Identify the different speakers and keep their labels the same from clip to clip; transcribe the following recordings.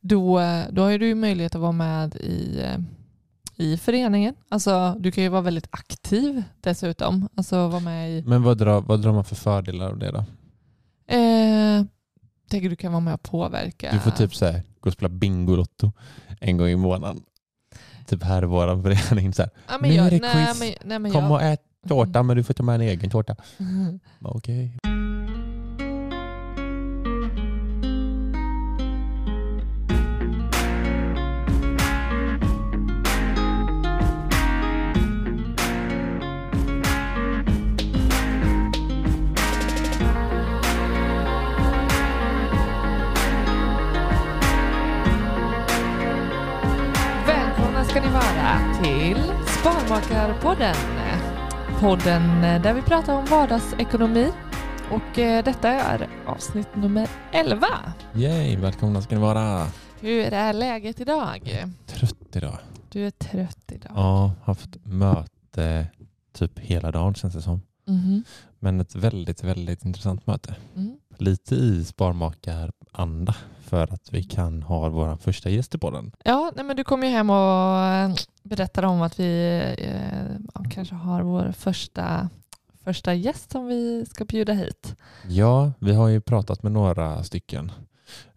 Speaker 1: då, eh, då har ju du ju möjlighet att vara med i, eh, i föreningen. Alltså, du kan ju vara väldigt aktiv dessutom. Alltså, vara med i,
Speaker 2: Men vad drar, vad drar man för fördelar av det då?
Speaker 1: eh, tänker du kan vara med och påverka.
Speaker 2: Du får typ så här, gå och spela Bingolotto en gång i månaden. Typ här i vår förening. Så här,
Speaker 1: ja,
Speaker 2: Nu
Speaker 1: men
Speaker 2: är
Speaker 1: jag,
Speaker 2: det
Speaker 1: nej,
Speaker 2: quiz.
Speaker 1: men, nej, men
Speaker 2: Kom
Speaker 1: jag,
Speaker 2: och ät tårta men du får ta med en egen tårta. Bara, Okej.
Speaker 1: Välkomna ska ni vara till Sparmakarpodden. Podden eh, där vi pratar om vardagsekonomi. Och eh, detta är avsnitt nummer 11.
Speaker 2: Yay, välkomna ska ni vara.
Speaker 1: Hur är läget idag?
Speaker 2: Trött idag.
Speaker 1: Du är trött idag.
Speaker 2: Ja, haft möte typ hela dagen känns det som.
Speaker 1: Mhm.
Speaker 2: Men ett väldigt, väldigt intressant möte.
Speaker 1: Mm.
Speaker 2: Lite i sparmakaranda för att vi kan ha vår första gäst i podden.
Speaker 1: Ja, nej, men du kom ju hem och eh, berättade om att vi eh, ja, kanske har vår första, första gäst som vi ska bjuda hit.
Speaker 2: Ja, vi har ju pratat med några stycken.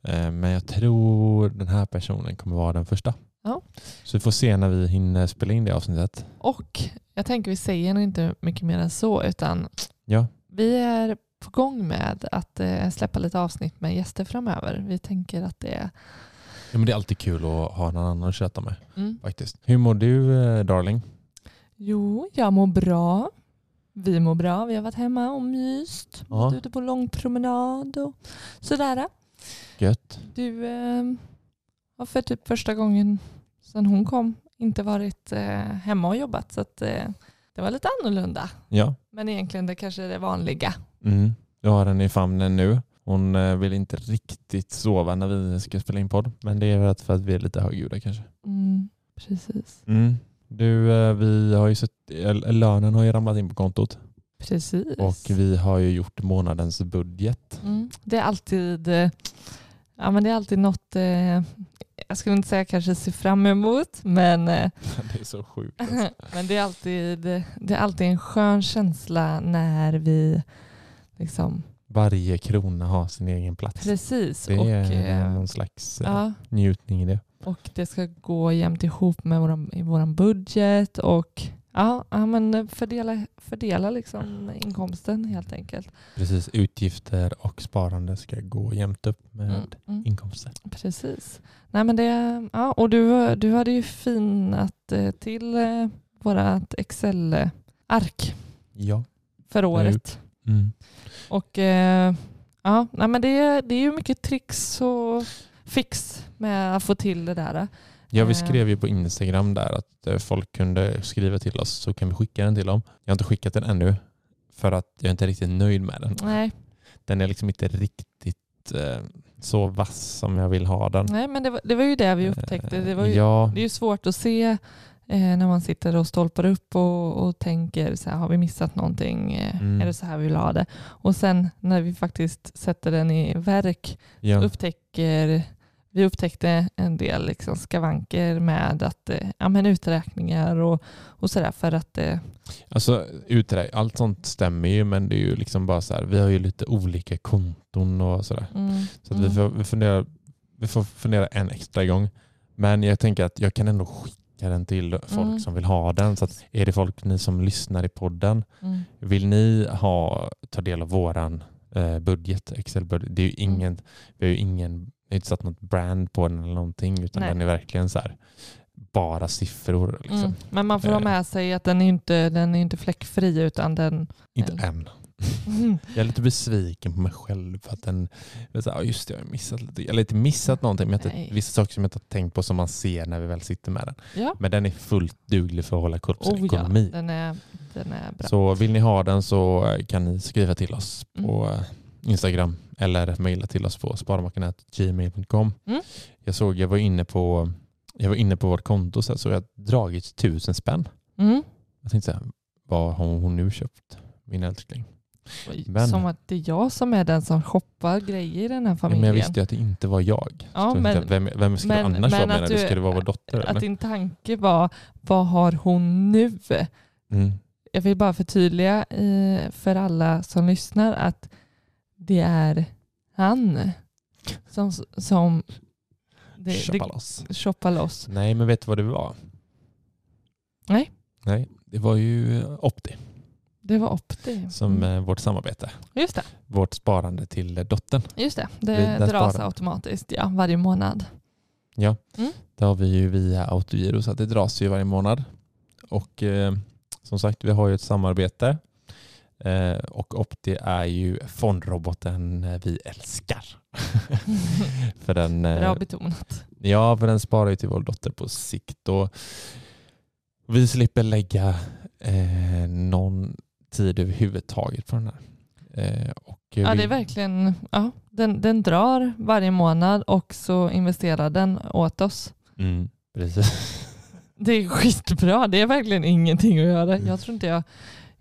Speaker 2: Eh, Men jag tror den här personen kommer vara den första.
Speaker 1: Ja.
Speaker 2: Så vi får se när vi hinner spela in det avsnittet.
Speaker 1: Och jag tänker vi säger nog inte mycket mer än så, utan
Speaker 2: Ja,
Speaker 1: vi är på gång med att eh, släppa lite avsnitt med gäster framöver. Vi tänker att det
Speaker 2: ja men det är alltid kul att ha någon annan att köta med
Speaker 1: mm.
Speaker 2: faktiskt. Hur mår du eh, darling?
Speaker 1: Jo, jag mår bra. Vi mår bra. Vi har varit hemma och myst.
Speaker 2: Ja.
Speaker 1: Varit ute på lång promenad och sådär.
Speaker 2: Gött?
Speaker 1: Du eh, har för typ första gången sedan hon kom inte varit eh, hemma och jobbat. Så att, eh, det var lite annorlunda.
Speaker 2: Ja.
Speaker 1: Men egentligen det kanske är det vanliga.
Speaker 2: Mm. Jag har henne i famnen nu. Hon eh, vill inte riktigt sova när vi ska spela in podd. Men det är väl att- för att vi är lite högljudda kanske.
Speaker 1: Mm, precis.
Speaker 2: Mm. Du, eh, vi har ju sett, eller lönen har ju ramlat in på kontot
Speaker 1: Precis.
Speaker 2: och vi har ju gjort månadens budget.
Speaker 1: Mm, det är alltid eh, Ja, men det är alltid något, eh, jag skulle inte säga kanske se fram emot, men eh,
Speaker 2: Det är så sjukt. alltså.
Speaker 1: Men det är, alltid, det är alltid en skön känsla när vi liksom,
Speaker 2: Varje krona har sin egen plats.
Speaker 1: precis,
Speaker 2: Det
Speaker 1: och,
Speaker 2: är
Speaker 1: eh,
Speaker 2: någon slags eh,
Speaker 1: ja,
Speaker 2: njutning i det.
Speaker 1: och det ska gå jämnt ihop med våran, i våran budget och ja, ja men fördela, fördela liksom inkomsten helt enkelt.
Speaker 2: Precis, utgifter och sparande ska gå jämnt upp med
Speaker 1: Mm, mm,
Speaker 2: inkomster.
Speaker 1: precis. Nej, men det, ja, och du, du hade ju finat eh, till eh, vårat Excel-ark
Speaker 2: Ja.
Speaker 1: för
Speaker 2: har jag
Speaker 1: året.
Speaker 2: Mm.
Speaker 1: Och eh, ja, nej, men det, det är ju mycket tricks och fix med att få till det där.
Speaker 2: Ja, vi
Speaker 1: Eh.
Speaker 2: skrev ju på Instagram där att eh, folk kunde skriva till oss så kan vi skicka den till dem. Jag har inte skickat den ännu för att jag är inte riktigt nöjd med den.
Speaker 1: Nej.
Speaker 2: Den är liksom inte riktigt eh, så vass som jag vill ha den. Eh,
Speaker 1: Nej, men det var, det var ju det vi upptäckte. Det, var ju,
Speaker 2: Ja,
Speaker 1: det är ju svårt att se eh, när man sitter och stolpar upp och, och tänker så här, har vi missat någonting? Eh,
Speaker 2: Mm.
Speaker 1: Är det så här vi vill ha det? Och sen när vi faktiskt sätter den i verk
Speaker 2: ja.
Speaker 1: upptäcker vi upptäckte en del liksom skavanker med att, eh, ja, men uträkningar och, och sådär för att eh,
Speaker 2: Alltså, uträ- allt sånt stämmer ju men det är ju liksom bara så här, vi har ju lite olika konton och sådär.
Speaker 1: mm,
Speaker 2: Så att vi, får, vi, funderar, vi får fundera en extra gång. Men jag tänker att jag kan ändå skicka den till folk
Speaker 1: Mm.
Speaker 2: som vill ha den. Så att är det folk, ni som lyssnar i podden,
Speaker 1: mm,
Speaker 2: vill ni ha, ta del av våran eh, budget, Excel-budget? Det är ju
Speaker 1: Mm.
Speaker 2: ingen, vi har ju ingen, vi har inte satt något brand på den eller någonting utan
Speaker 1: Nej.
Speaker 2: den är verkligen så här, bara siffror. Liksom.
Speaker 1: mm. Men man får ha
Speaker 2: Eh.
Speaker 1: med sig att den är inte, den är inte fläckfri utan den...
Speaker 2: Inte Äh,
Speaker 1: Mm.
Speaker 2: än. Jag är lite besviken på mig själv för att den, jag är så här, "Ja, just det, jag har missat lite, eller inte missat någonting, men jag har
Speaker 1: Nej.
Speaker 2: inte, vissa saker som jag inte har tänkt på som man ser när vi väl sitter med den.
Speaker 1: ja.
Speaker 2: Men den är fullt duglig för att hålla koll på sin
Speaker 1: Oh, ja,
Speaker 2: ekonomi.
Speaker 1: den är, den är bra.
Speaker 2: så vill ni ha den så eh, kan ni skriva till oss
Speaker 1: Mm.
Speaker 2: på eh, Instagram eller mejla till oss på sparmakarna.gmail.com.
Speaker 1: Mm.
Speaker 2: Jag såg, jag var inne på jag var inne på vårt konto så såg jag att dragit tusen spänn.
Speaker 1: Mm.
Speaker 2: Jag tänkte så här, vad har hon nu köpt? Min älskling. Men-
Speaker 1: Som att det är jag som är den som shoppar grejer i den här
Speaker 2: Ja, men
Speaker 1: familjen.
Speaker 2: jag visste ju att det inte var jag.
Speaker 1: Ja,
Speaker 2: Så jag tänkte,
Speaker 1: men-
Speaker 2: vem, vem ska
Speaker 1: men-
Speaker 2: det
Speaker 1: men
Speaker 2: annars vara?
Speaker 1: att
Speaker 2: menar du?
Speaker 1: du-
Speaker 2: Ska det vara vår dotter?
Speaker 1: Att
Speaker 2: Eller?
Speaker 1: din tanke var, vad har hon nu?
Speaker 2: Mm.
Speaker 1: jag vill bara förtydliga eh, för alla som lyssnar att det är han som, som det,
Speaker 2: Köpa
Speaker 1: det,
Speaker 2: loss.
Speaker 1: shoppar loss.
Speaker 2: Nej, men vet du vad det var?
Speaker 1: Nej.
Speaker 2: Nej, det var ju eh, Opti
Speaker 1: Det var Opti.
Speaker 2: som eh, vårt samarbete.
Speaker 1: Just det,
Speaker 2: Vårt sparande till eh, dottern.
Speaker 1: just det.
Speaker 2: Vi-
Speaker 1: det
Speaker 2: den
Speaker 1: dras
Speaker 2: sparar.
Speaker 1: automatiskt ja, varje månad.
Speaker 2: Det har vi ju via autogiro så att det dras ju varje månad. Och eh, som sagt, vi har ju ett samarbete. Eh, och Opti är ju fondroboten eh, vi älskar. för den, eh,
Speaker 1: Bra betonat.
Speaker 2: Ja, för den sparar ju till vår dotter på sikt. Och vi slipper lägga eh, någon tid överhuvudtaget på den här. Eh, och
Speaker 1: Ja,
Speaker 2: vi-
Speaker 1: det är verkligen, ja, den, den drar varje månad och så investerar den åt oss.
Speaker 2: Mm, precis.
Speaker 1: Det är skitbra. Det är verkligen ingenting att göra. Jag tror inte jag...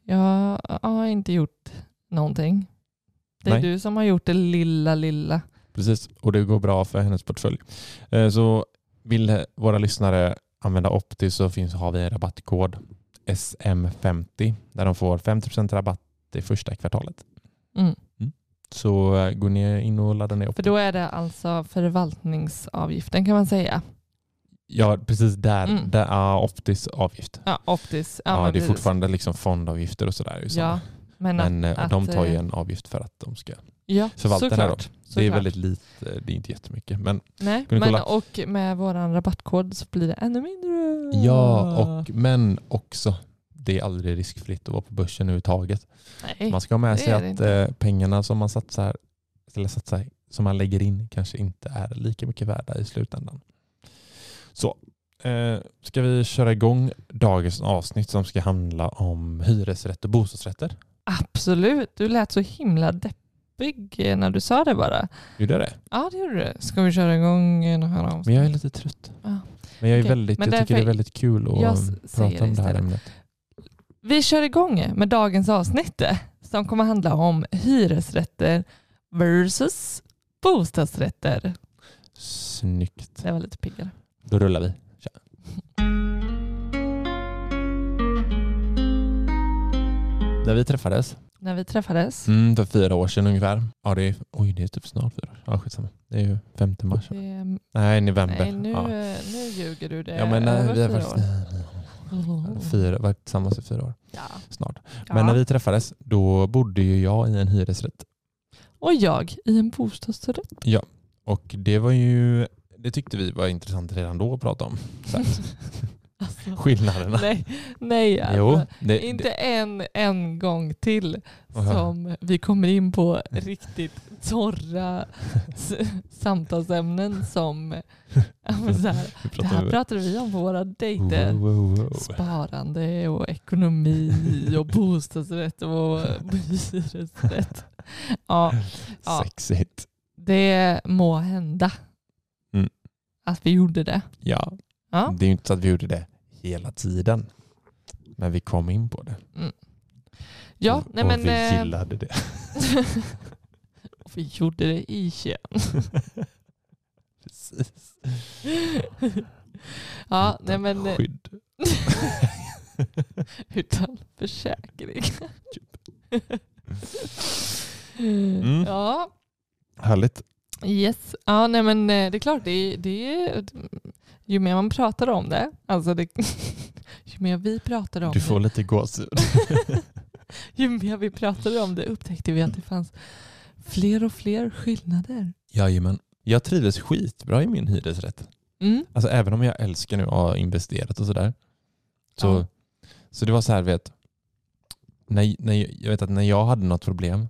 Speaker 1: Jag, har inte gjort någonting. Det är
Speaker 2: Nej.
Speaker 1: du som har gjort det lilla, lilla.
Speaker 2: precis. Och det går bra för hennes portfölj. Eh, så vill våra lyssnare använda Opti så finns, har vi en rabattkod SM50 där de får 50% rabatt det första kvartalet.
Speaker 1: Mm.
Speaker 2: Så eh, gå ner in och ladda ner
Speaker 1: För
Speaker 2: Opti.
Speaker 1: då är det alltså förvaltningsavgiften kan man säga.
Speaker 2: Ja, precis där.
Speaker 1: Mm.
Speaker 2: där ja, Optis avgift.
Speaker 1: Ja, optis.
Speaker 2: Ja,
Speaker 1: men
Speaker 2: det är
Speaker 1: precis.
Speaker 2: fortfarande liksom fondavgifter och sådär. ju
Speaker 1: Ja,
Speaker 2: samma.
Speaker 1: men, att,
Speaker 2: men eh, och de
Speaker 1: att,
Speaker 2: tar ju
Speaker 1: eh,
Speaker 2: en avgift för att de ska...
Speaker 1: ja,
Speaker 2: förvalta det här då.
Speaker 1: såklart.
Speaker 2: Det är
Speaker 1: Såklart.
Speaker 2: väldigt lite, eh, det är inte jättemycket. Men
Speaker 1: Nej,
Speaker 2: Kan du
Speaker 1: men
Speaker 2: kolla?
Speaker 1: och med vår rabattkod så blir det ännu mindre.
Speaker 2: ja,
Speaker 1: Ah.
Speaker 2: och, men också, det är aldrig riskfritt att vara på börsen överhuvudtaget.
Speaker 1: Nej.
Speaker 2: Man ska ha med
Speaker 1: det
Speaker 2: sig
Speaker 1: är det
Speaker 2: att eh, pengarna som man satsar, eller satsar, som man lägger in kanske inte är lika mycket värda i slutändan. Så, eh, ska vi köra igång dagens avsnitt som ska handla om hyresrätter och bostadsrätter?
Speaker 1: Absolut. Du lät så himla deppig eh, när du sa det bara.
Speaker 2: Gjorde jag det?
Speaker 1: Ja, det gjorde du. Ska vi köra igång eh, den här avsnittet?
Speaker 2: Men jag är lite trött.
Speaker 1: Ja.
Speaker 2: Men jag,
Speaker 1: Ah,
Speaker 2: är
Speaker 1: Okej,
Speaker 2: väldigt,
Speaker 1: men
Speaker 2: jag tycker det är
Speaker 1: därför-
Speaker 2: väldigt kul att
Speaker 1: jag
Speaker 2: um,
Speaker 1: s- säger
Speaker 2: prata
Speaker 1: det
Speaker 2: om det här
Speaker 1: istället.
Speaker 2: ämnet. Mm.
Speaker 1: Vi kör igång eh, med dagens avsnitt eh, som kommer handla om hyresrätter versus bostadsrätter.
Speaker 2: Snyggt.
Speaker 1: Det var lite piggare.
Speaker 2: Då rullar vi. När vi träffades
Speaker 1: När vi träffades.
Speaker 2: mm, för fyra år sedan ungefär. Ja, det är, oj, det är typ snart fyra år. Ja, skitsamma. Det är ju 5 mars.
Speaker 1: Det,
Speaker 2: Nej, november.
Speaker 1: Ehm, nej, nu,
Speaker 2: ja.
Speaker 1: eh, nu ljuger du. Det
Speaker 2: ja, men nej,
Speaker 1: över
Speaker 2: vi har
Speaker 1: fyra
Speaker 2: faktiskt
Speaker 1: år.
Speaker 2: fyra, varit tillsammans i fyra år
Speaker 1: Ja.
Speaker 2: snart.
Speaker 1: Ja.
Speaker 2: Men när vi träffades, då bodde ju jag i en hyresrätt.
Speaker 1: Och jag i en bostadsrätt.
Speaker 2: Och det var ju, det tyckte vi var intressant redan då att prata om. Så här. skillnaderna.
Speaker 1: Nej, nej alltså.
Speaker 2: Jo, Eh, det, det,
Speaker 1: Inte en, en gång till
Speaker 2: Aha.
Speaker 1: som vi kommer in på riktigt torra s- samtalsämnen som ja, men så här,
Speaker 2: vi
Speaker 1: det
Speaker 2: pratar
Speaker 1: här
Speaker 2: om-
Speaker 1: pratade vi om på våra
Speaker 2: Wow,
Speaker 1: dejter.
Speaker 2: wow, wow.
Speaker 1: Sparande och ekonomi och bostadsrätt och hyresrätt. Ja, ja.
Speaker 2: Sexigt.
Speaker 1: det må hända
Speaker 2: Mm.
Speaker 1: att vi gjorde det.
Speaker 2: Ja.
Speaker 1: Ja.
Speaker 2: det är ju inte så att vi gjorde det hela tiden. Men vi kom in på det.
Speaker 1: Ja,
Speaker 2: och,
Speaker 1: nej
Speaker 2: och
Speaker 1: men,
Speaker 2: vi
Speaker 1: eh,
Speaker 2: gillade det.
Speaker 1: och vi gjorde det igen.
Speaker 2: Precis.
Speaker 1: Ja, nej
Speaker 2: Utan
Speaker 1: men, eh,
Speaker 2: Skydd.
Speaker 1: utan försäkring.
Speaker 2: Mm.
Speaker 1: Ja,
Speaker 2: Härligt.
Speaker 1: yes. Ja, nej men eh, det är klart, det är, det är, ju mer man pratar om det, alltså det, ju mer vi pratar om
Speaker 2: Du får
Speaker 1: det,
Speaker 2: lite gåshud.
Speaker 1: ju mer vi pratade om det upptäckte vi att det fanns fler och fler skillnader.
Speaker 2: Jajamän. Jag trivdes skitbra i min hyresrätt.
Speaker 1: Mm.
Speaker 2: Alltså även om jag älskar nu att ha investerat och sådär. Så,
Speaker 1: Ja.
Speaker 2: så det var så här, vet, när, när, jag vet att när jag hade något problem,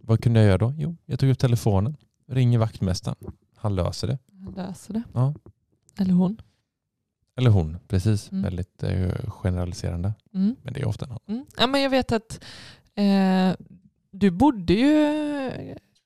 Speaker 2: vad kunde jag göra då? Jo, jag tog upp telefonen, ringer vaktmästaren. Han löser det.
Speaker 1: Han löser det.
Speaker 2: Ja.
Speaker 1: Eller hon.
Speaker 2: Eller hon, precis.
Speaker 1: Mm.
Speaker 2: Väldigt eh, generaliserande.
Speaker 1: Mm.
Speaker 2: Men det är ofta en han.
Speaker 1: Mm. Ja, men jag vet att eh, du bodde ju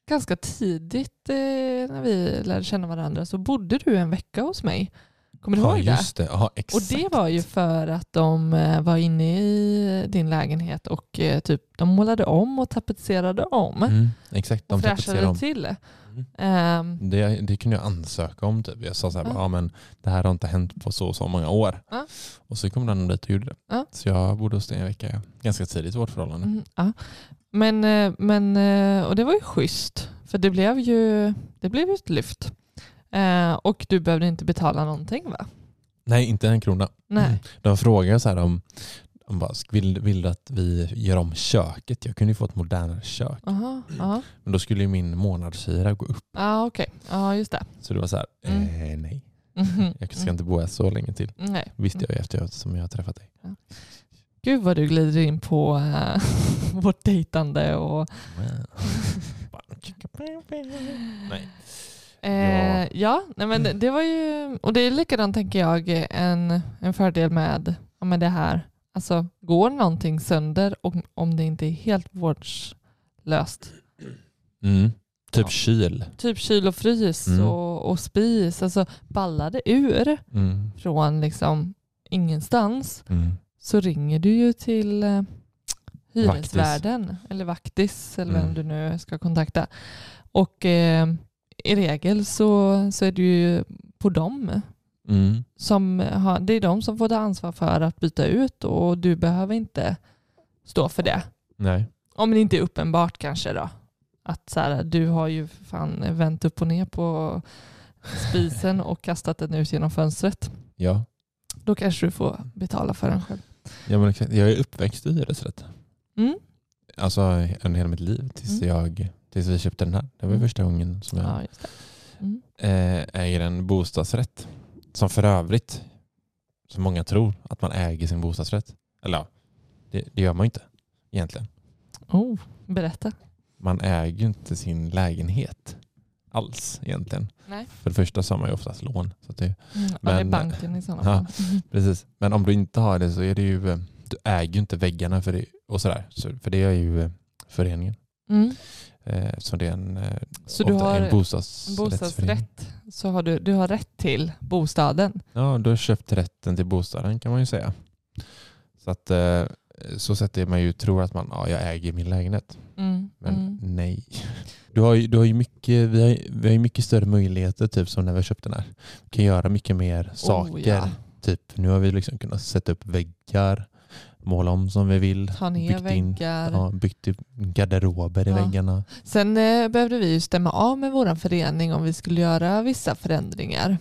Speaker 1: ganska tidigt eh, när vi lärde känna varandra så bodde du en vecka hos mig. Kommer du
Speaker 2: Ja,
Speaker 1: ihåg det?
Speaker 2: just det. Ja,
Speaker 1: Och
Speaker 2: exakt.
Speaker 1: det var ju för att de eh, var inne i din lägenhet och eh, typ, de målade om och tapetserade om.
Speaker 2: Mm, exakt, de
Speaker 1: och
Speaker 2: tapetserade
Speaker 1: fräschade
Speaker 2: om.
Speaker 1: till.
Speaker 2: Mm.
Speaker 1: Ehm,
Speaker 2: Det, det kunde jag ansöka om. Typ. Jag sa så här,
Speaker 1: Ja.
Speaker 2: ja. men det här har inte hänt på så och så många år.
Speaker 1: Ja.
Speaker 2: Och så kom den dit och gjorde det.
Speaker 1: Ja.
Speaker 2: Så jag bodde hos dig en vecka ganska tidigt i vårt förhållande.
Speaker 1: mm, ja. men, eh, men, eh, och det var ju schysst. För det blev ju, det blev ju ett lyft. Eh, och du behövde inte betala någonting va?
Speaker 2: Nej, inte en krona. Mm.
Speaker 1: Nej.
Speaker 2: De frågade så här om, om bara, vill, vill du att vi gör om köket? Jag kunde ju få ett modernare kök.
Speaker 1: Aha, aha.
Speaker 2: Men då skulle ju min månadshyra gå upp.
Speaker 1: Ja, okej. Ja, just det.
Speaker 2: Så det var så här,
Speaker 1: Mm.
Speaker 2: eh, nej.
Speaker 1: Mhm.
Speaker 2: Jag ska inte bo här så länge till.
Speaker 1: Mm. Nej.
Speaker 2: Visste jag ju efter som jag har träffat dig.
Speaker 1: Gud vad du glider in på eh, vårt dejtande och...
Speaker 2: Nej.
Speaker 1: Eh, ja, nej, men det- det var ju... Och det är likadant tänker jag en, en fördel med, ja, med det här. Alltså, går någonting sönder om, om det inte är helt vårdslöst?
Speaker 2: Mm. Typ
Speaker 1: Ja.
Speaker 2: kyl.
Speaker 1: Typ kyl och frys
Speaker 2: Mm.
Speaker 1: och, och spis. Alltså ballade ur
Speaker 2: Mm.
Speaker 1: från liksom ingenstans.
Speaker 2: Mm.
Speaker 1: så ringer du ju till eh,
Speaker 2: Vaktis.
Speaker 1: hyresvärden eller vaktis eller vem
Speaker 2: Mm.
Speaker 1: du nu ska kontakta. Och eh, i regel så, så är det ju på dem.
Speaker 2: Mm.
Speaker 1: Som har, det är de som får ta ansvar för att byta ut och du behöver inte stå för det.
Speaker 2: Nej.
Speaker 1: Om det inte är uppenbart kanske då. Att så här, du har ju för fan vänt upp och ner på spisen och kastat den ut genom fönstret.
Speaker 2: Ja.
Speaker 1: Då kanske du får betala för den själv.
Speaker 2: ja men exakt. Jag är uppväxt i hyresrätt.
Speaker 1: Mm.
Speaker 2: Alltså under hela mitt liv tills,
Speaker 1: Mm.
Speaker 2: jag, tills vi köpte den här. Det var
Speaker 1: Mm.
Speaker 2: första gången som jag
Speaker 1: Ja, just det. Mm.
Speaker 2: eh, äger en bostadsrätt. Som för övrigt, som många tror, att man äger sin bostadsrätt. Eller ja, det, det gör man ju inte egentligen.
Speaker 1: Oh, berätta.
Speaker 2: Man äger ju inte sin lägenhet alls egentligen.
Speaker 1: Nej.
Speaker 2: För det första så har man ju oftast lån. Så att det,
Speaker 1: Mm, ja, det är
Speaker 2: Men-
Speaker 1: banken i sådana
Speaker 2: Ja.
Speaker 1: fall.
Speaker 2: Precis, men om du inte har det så är det ju, eh, du äger ju inte väggarna för det, och sådär, så, för det är ju eh, föreningen.
Speaker 1: Mm.
Speaker 2: Eh, Eftersom det är en, eh,
Speaker 1: Så du
Speaker 2: ofta
Speaker 1: har
Speaker 2: en
Speaker 1: En
Speaker 2: bostadsrättsförening.
Speaker 1: Bostadsrätt, så har du, du har rätt till bostaden.
Speaker 2: Ja, du har köpt rätten till bostaden kan man ju säga. Så att eh, så sätt är man ju tror att man, ja jag äger min lägenhet.
Speaker 1: Mm.
Speaker 2: Men
Speaker 1: Mm.
Speaker 2: nej. Du har ju, du har ju mycket, vi har, ju- vi har ju mycket större möjligheter typ som när vi har köpt den här. Vi kan göra mycket mer saker.
Speaker 1: Oh, ja.
Speaker 2: typ, nu har vi liksom kunnat sätta upp väggar, måla om som vi vill.
Speaker 1: Ta ner
Speaker 2: byggt in-
Speaker 1: väggar.
Speaker 2: Ja, byggt upp garderober i
Speaker 1: Ja.
Speaker 2: väggarna.
Speaker 1: Sen eh, behövde vi ju stämma av med vår förening om vi skulle göra vissa förändringar.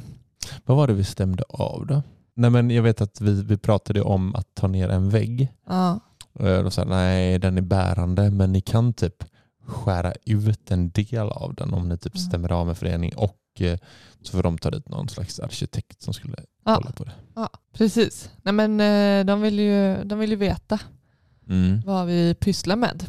Speaker 2: Vad var det vi stämde av då? Nej, men jag vet att vi, vi pratade om att ta ner en vägg.
Speaker 1: Ja.
Speaker 2: Och de sa nej, den är bärande men ni kan typ skära ut en del av den om ni typ
Speaker 1: Mm.
Speaker 2: stämmer av med förening och och eh, så får de ta dit någon slags arkitekt som skulle
Speaker 1: Ja,
Speaker 2: kolla på det.
Speaker 1: ja, precis. Nej, men, eh, de, vill ju, de vill ju veta
Speaker 2: Mm.
Speaker 1: vad vi pysslar med.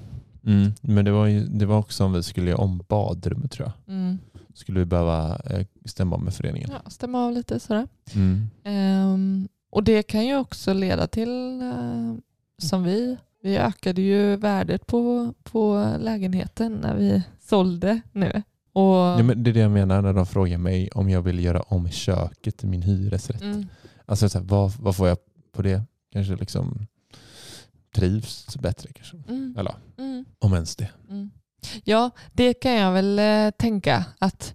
Speaker 2: Mm. Men det var, ju, det var också om vi skulle göra om badrummet tror jag.
Speaker 1: Mm.
Speaker 2: Skulle vi behöva eh, stämma av med föreningen.
Speaker 1: Ja, stämma av lite sådär.
Speaker 2: Mm.
Speaker 1: Ehm, och det kan ju också leda till, eh, som vi, vi ökade ju värdet på, på lägenheten när vi sålde nu. Och,
Speaker 2: Ja, men det är det jag menar när de frågar mig om jag vill göra om köket till min hyresrätt.
Speaker 1: mm,
Speaker 2: Alltså så här, vad, vad får jag på det? Kanske liksom trivs bättre kanske.
Speaker 1: mm,
Speaker 2: Eller
Speaker 1: mm,
Speaker 2: om ens det.
Speaker 1: mm. ja, det kan jag väl eh, tänka att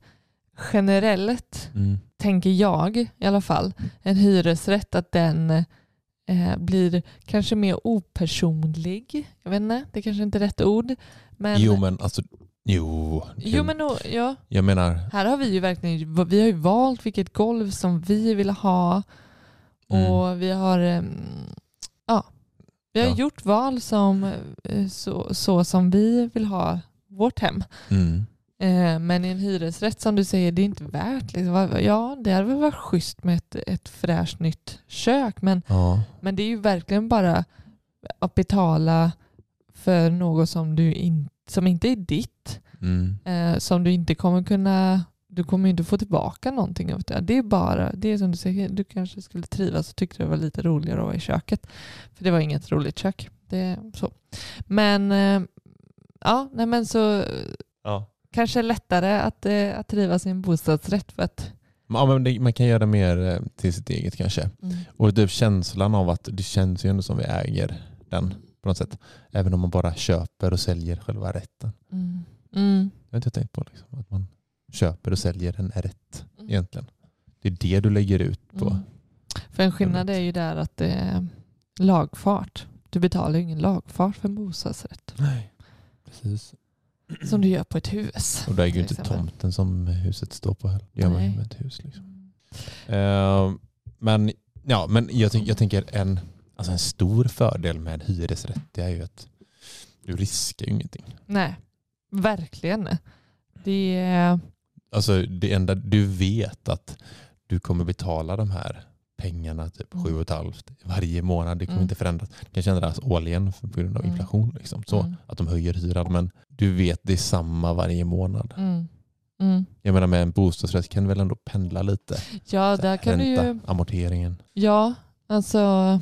Speaker 1: generellt
Speaker 2: Mm.
Speaker 1: tänker jag i alla fall, en hyresrätt att den eh, blir kanske mer opersonlig. Jag vet inte, det kanske inte är rätt ord. Men,
Speaker 2: jo men alltså, jo.
Speaker 1: jo, men nog- ja.
Speaker 2: Jag menar,
Speaker 1: Här har vi ju verkligen vi har ju valt vilket golv som vi vill ha
Speaker 2: Mm.
Speaker 1: och vi har, em, ja, vi har
Speaker 2: Ja.
Speaker 1: gjort val som, eh, så, så som vi vill ha vårt hem.
Speaker 2: mm.
Speaker 1: Eh, Men i en hyresrätt som du säger, det är inte värt. Liksom. Vad- Ja, det hade väl varit schysst med ett, ett fräscht nytt kök men,
Speaker 2: ja.
Speaker 1: men det är ju verkligen bara att betala för något som, du in, som inte är ditt
Speaker 2: Mm.
Speaker 1: eh, som du inte kommer kunna du kommer ju inte få tillbaka någonting av det. Det är bara, det är som du säger, du kanske skulle trivas och tyckte det var lite roligare att vara i köket. För det var inget roligt kök. Det är så. Men eh, ja, nej men så eh,
Speaker 2: Ja.
Speaker 1: kanske lättare att, eh, att trivas i en bostadsrätt för att
Speaker 2: Ja, men det, man kan göra mer eh, till sitt eget kanske. Och typ känslan av att det känns ju ändå som vi äger den på något sätt. Även om man bara köper och säljer själva rätten.
Speaker 1: mm. Mm.
Speaker 2: Jag har inte tänkt på liksom, att man köper och säljer en rätt
Speaker 1: Mm.
Speaker 2: egentligen. Det är det du lägger ut på.
Speaker 1: Mm. För en skillnad är ju där att det är lagfart. Du betalar ju ingen lagfart för en bostadsrätt
Speaker 2: Nej, precis.
Speaker 1: som du gör på ett hus.
Speaker 2: Och det är ju
Speaker 1: till
Speaker 2: inte
Speaker 1: exempel.
Speaker 2: tomten som huset står på heller. Det gör man ju
Speaker 1: Nej.
Speaker 2: med ett hus. Liksom. Eh, men ja, men jag, ty- jag tänker en, alltså en stor fördel med hyresrätt det är ju att du riskar ju ingenting.
Speaker 1: Nej, verkligen. Det är...
Speaker 2: Alltså det enda du vet att du kommer betala de här pengarna typ
Speaker 1: Mm.
Speaker 2: sju och ett halvt varje månad. Det kommer
Speaker 1: Mm.
Speaker 2: inte förändras. Det kan förändras årligen för- på grund av
Speaker 1: Mm.
Speaker 2: inflation. Liksom. Så
Speaker 1: Mm.
Speaker 2: att de höjer hyran. Men du vet det är samma varje månad.
Speaker 1: Mm. Mm.
Speaker 2: Jag menar med en bostadsrätt kan du väl ändå pendla lite.
Speaker 1: Ja, där kan du ju...
Speaker 2: amorteringen.
Speaker 1: Ja, alltså...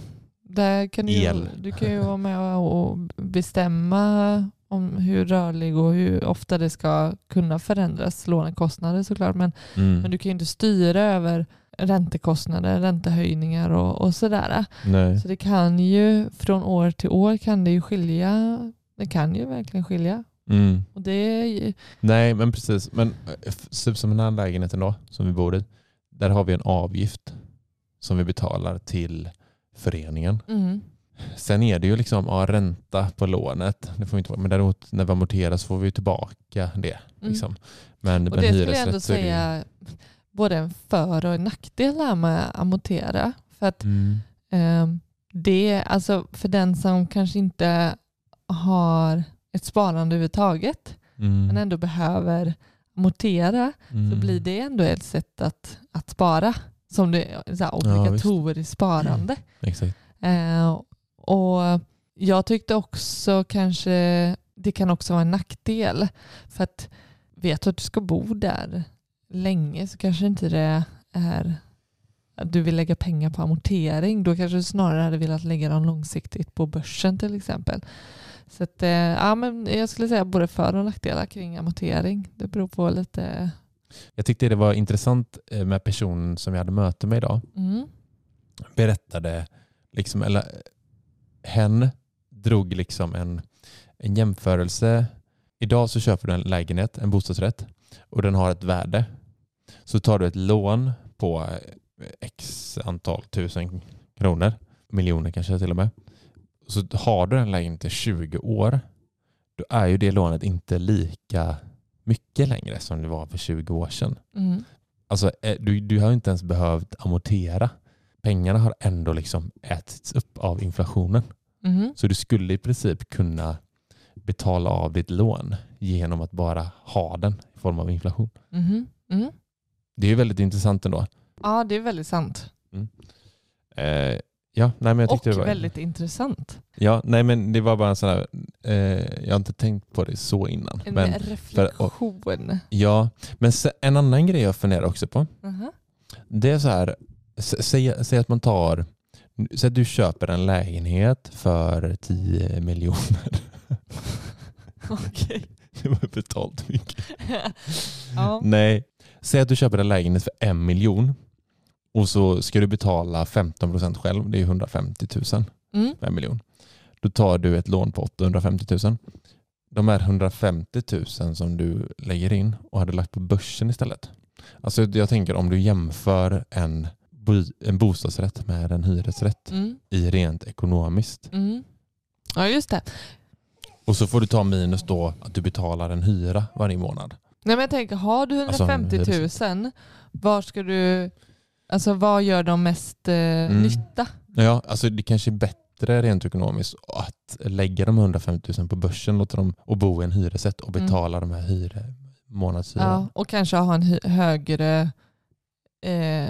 Speaker 1: Där kan du, ju,
Speaker 2: El.
Speaker 1: du kan ju vara med och bestämma om hur rörlig och hur ofta det ska kunna förändras. Lånekostnader såklart, men,
Speaker 2: Mm.
Speaker 1: men du kan ju inte styra över räntekostnader, räntehöjningar och, och sådär.
Speaker 2: Nej.
Speaker 1: Så det kan ju, från år till år kan det ju skilja. Det kan ju verkligen skilja.
Speaker 2: Mm.
Speaker 1: Och det är ju,
Speaker 2: Nej, men precis. Men eh, f- typ som den här lägenheten då, som vi bor i, där har vi en avgift som vi betalar till föreningen.
Speaker 1: mm,
Speaker 2: Sen är det ju liksom ja, ränta på lånet, det får vi inte, vara- men däremot när vi amorterar så får vi ju tillbaka det.
Speaker 1: mm.
Speaker 2: Liksom. Men,
Speaker 1: Och
Speaker 2: men
Speaker 1: det skulle jag ändå
Speaker 2: hyresrätt så är det ju-
Speaker 1: säga både en för och en nackdel här med att amortera. För, att,
Speaker 2: Mm.
Speaker 1: ehm, det, alltså för den som kanske inte har ett sparande överhuvudtaget
Speaker 2: Mm.
Speaker 1: men ändå behöver amortera så
Speaker 2: Mm.
Speaker 1: blir det ändå ett sätt att, att spara. Som det är så här obligatoriskt sparande.
Speaker 2: Exakt.
Speaker 1: Eh, och jag tyckte också kanske det kan också vara en nackdel. För att vet du att du ska bo där länge så kanske inte det är att du vill lägga pengar på amortering. Då kanske du snarare hade velat lägga dem långsiktigt på börsen till exempel. Så att, eh, ja, men jag skulle säga både för och nackdelar kring amortering. Det beror på lite.
Speaker 2: Jag tyckte det var intressant eh, med personen som jag hade möte med idag.
Speaker 1: Mm,
Speaker 2: berättade, liksom, eller hen drog liksom en, en jämförelse. Idag så köper du en lägenhet, en bostadsrätt och den har ett värde. Så tar du ett lån på eh, x antal tusen kronor, miljoner kanske till och med. Så har du den lägenheten i 20 år, då är ju det lånet inte lika mycket längre som det var för 20 år sedan.
Speaker 1: mm,
Speaker 2: Alltså, eh, du, du har ju inte ens behövt amortera. Pengarna har ändå liksom ätits upp av inflationen.
Speaker 1: mm,
Speaker 2: Så du skulle i princip kunna betala av ditt lån genom att bara ha den i form av inflation.
Speaker 1: mhm, mm.
Speaker 2: Det är ju väldigt intressant ändå.
Speaker 1: Ja, det är väldigt sant.
Speaker 2: Eh, ja, nej, men jag
Speaker 1: Och
Speaker 2: tyckte det var,
Speaker 1: väldigt intressant.
Speaker 2: Ja, nej men det var bara en sån här, eh, jag har inte tänkt på det så innan.
Speaker 1: En
Speaker 2: Men,
Speaker 1: reflektion.
Speaker 2: ja, men se, en annan grej jag funderar också på,
Speaker 1: Aha.
Speaker 2: det är så här, sä- säg, säg att man tar, säg att du köper en lägenhet för 10 miljoner.
Speaker 1: Okej.
Speaker 2: Det var betalt mycket.
Speaker 1: ja.
Speaker 2: Nej, säg att du köper en lägenhet för en miljon och så ska du betala 15 procent själv, det är 150 000.
Speaker 1: Mm.
Speaker 2: en miljon. Då tar du ett lån på 850 000. De här 150 000 som du lägger in och hade lagt på börsen istället. Alltså jag tänker om du jämför en, bo- en bostadsrätt med en hyresrätt
Speaker 1: Mm.
Speaker 2: i rent ekonomiskt.
Speaker 1: Mm. ja, just det.
Speaker 2: Och så får du ta minus då att du betalar en hyra varje månad.
Speaker 1: Nej, men jag tänker, har du
Speaker 2: Alltså,
Speaker 1: 150 000, var ska du, alltså, vad gör de mest eh,
Speaker 2: Mm,
Speaker 1: nytta?
Speaker 2: Ja, alltså det kanske är bättre rent ekonomiskt att lägga de 150 000 på börsen låta dem, och bo i en hyresrätt och
Speaker 1: Mm.
Speaker 2: betala de här hyre, månadshyran.
Speaker 1: Ja, och kanske ha en hy- högre... Eh,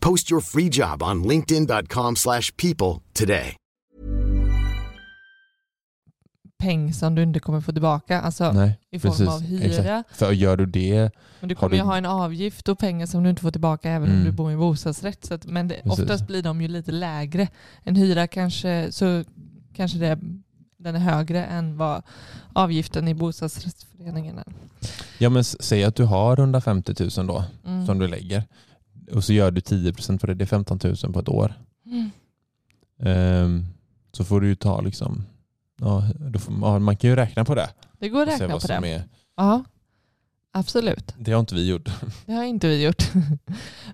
Speaker 3: Post your free job on linkedin.com/people slash people today.
Speaker 1: peng som du inte kommer få tillbaka. Alltså,
Speaker 2: Nej,
Speaker 1: i form av hyra.
Speaker 2: Exakt. För gör du det,
Speaker 1: men du
Speaker 2: har
Speaker 1: kommer ju
Speaker 2: du-
Speaker 1: ha en avgift och pengar som du inte får tillbaka även om
Speaker 2: Mm.
Speaker 1: du bor i en bostadsrätt. Så att, men det,
Speaker 2: Precis.
Speaker 1: oftast blir de ju lite lägre. En hyra kanske, så kanske det, den är högre än vad avgiften i bostadsrättsföreningen är.
Speaker 2: ja men s- säg att du har 150 000 då
Speaker 1: Mm.
Speaker 2: som du lägger och så gör du 10% på det, det är 15 000 på ett år.
Speaker 1: Mm.
Speaker 2: Ehm, så får du ju ta liksom, ja, då får, ja, man kan ju räkna på det.
Speaker 1: Det går att
Speaker 2: Se
Speaker 1: räkna
Speaker 2: vad
Speaker 1: på
Speaker 2: som
Speaker 1: det.
Speaker 2: är-
Speaker 1: Ja, absolut.
Speaker 2: det har inte vi gjort.
Speaker 1: Det har inte vi gjort.
Speaker 2: Vi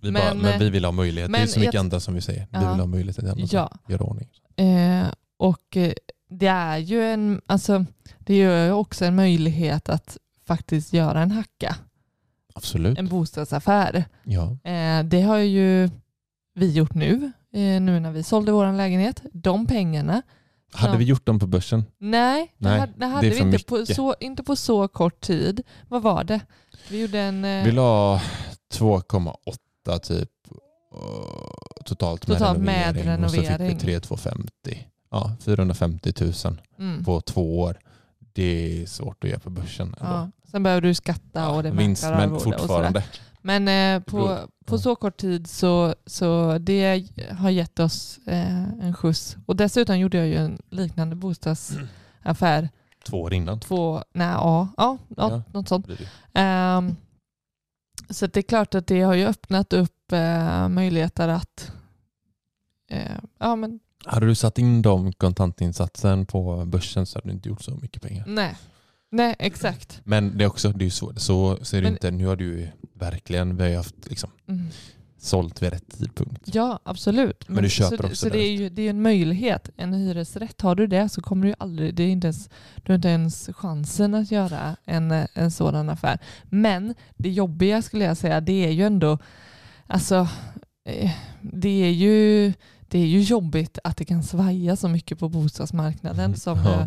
Speaker 1: Men,
Speaker 2: men, bara,
Speaker 1: eh,
Speaker 2: men vi vill ha möjlighet. Det är
Speaker 1: men
Speaker 2: så mycket
Speaker 1: jag-
Speaker 2: andra som vi säger. Vi
Speaker 1: Ja.
Speaker 2: vill ha möjlighet till andra
Speaker 1: Ja.
Speaker 2: som gör ordning.
Speaker 1: Eh, och eh, det är ju en, alltså, det gör ju också en möjlighet att faktiskt göra en hacka,
Speaker 2: Absolut.
Speaker 1: en bostadsaffär.
Speaker 2: Ja.
Speaker 1: Eh, det har ju vi gjort nu, eh, nu när vi sålde vår lägenhet. De pengarna,
Speaker 2: Hade
Speaker 1: Ja.
Speaker 2: vi gjort dem på börsen?
Speaker 1: nej, det
Speaker 2: Nej,
Speaker 1: hade, det
Speaker 2: det är
Speaker 1: hade vi
Speaker 2: för
Speaker 1: inte på,
Speaker 2: mycket.
Speaker 1: så, inte på så kort tid. Vad var det? Vi gjorde en... eh,
Speaker 2: Vi la 2,8 typ och totalt med
Speaker 1: Totalt med
Speaker 2: renovering. Och så fick
Speaker 1: renovering.
Speaker 2: vi 3 250. Ja, 450 000
Speaker 1: mm,
Speaker 2: på två år. Det är svårt att göra på börsen. ändå.
Speaker 1: ja. Sen behöver du skatta och det är
Speaker 2: vinst,
Speaker 1: mäklararvode
Speaker 2: men
Speaker 1: och sådär.
Speaker 2: fortfarande.
Speaker 1: Men eh, på,
Speaker 2: beror-
Speaker 1: på
Speaker 2: ja.
Speaker 1: så kort tid så, så det har gett oss eh, en skjuts. Och dessutom gjorde jag ju en liknande bostadsaffär
Speaker 2: Två år innan.
Speaker 1: två, nej ja, ja, ja,
Speaker 2: Ja.
Speaker 1: något sånt.
Speaker 2: blir det.
Speaker 1: Ehm, så att det är klart att det har ju öppnat upp eh, möjligheter att eh, ja, men,
Speaker 2: Hade du satt in de kontantinsatsen på börsen så hade du inte gjort så mycket pengar.
Speaker 1: nej, nej exakt.
Speaker 2: Men det är också, det är ju svårt. Så, så är det
Speaker 1: Men-
Speaker 2: inte. Nu har du ju verkligen, vi har ju haft liksom,
Speaker 1: Mm.
Speaker 2: sålt vid rätt tidpunkt.
Speaker 1: Ja, absolut.
Speaker 2: Men du köper
Speaker 1: så,
Speaker 2: också
Speaker 1: Så det är
Speaker 2: direkt.
Speaker 1: ju det är ju en möjlighet. En hyresrätt, har du det så kommer du ju aldrig, det är inte ens, du har inte ens chansen att göra en, eh, en sådan affär. Men det jobbiga skulle jag säga, det är ju ändå, alltså, eh, det är ju, det är ju jobbigt att det kan svaja så mycket på bostadsmarknaden
Speaker 2: Mm,
Speaker 1: som,
Speaker 2: ja.
Speaker 1: eh,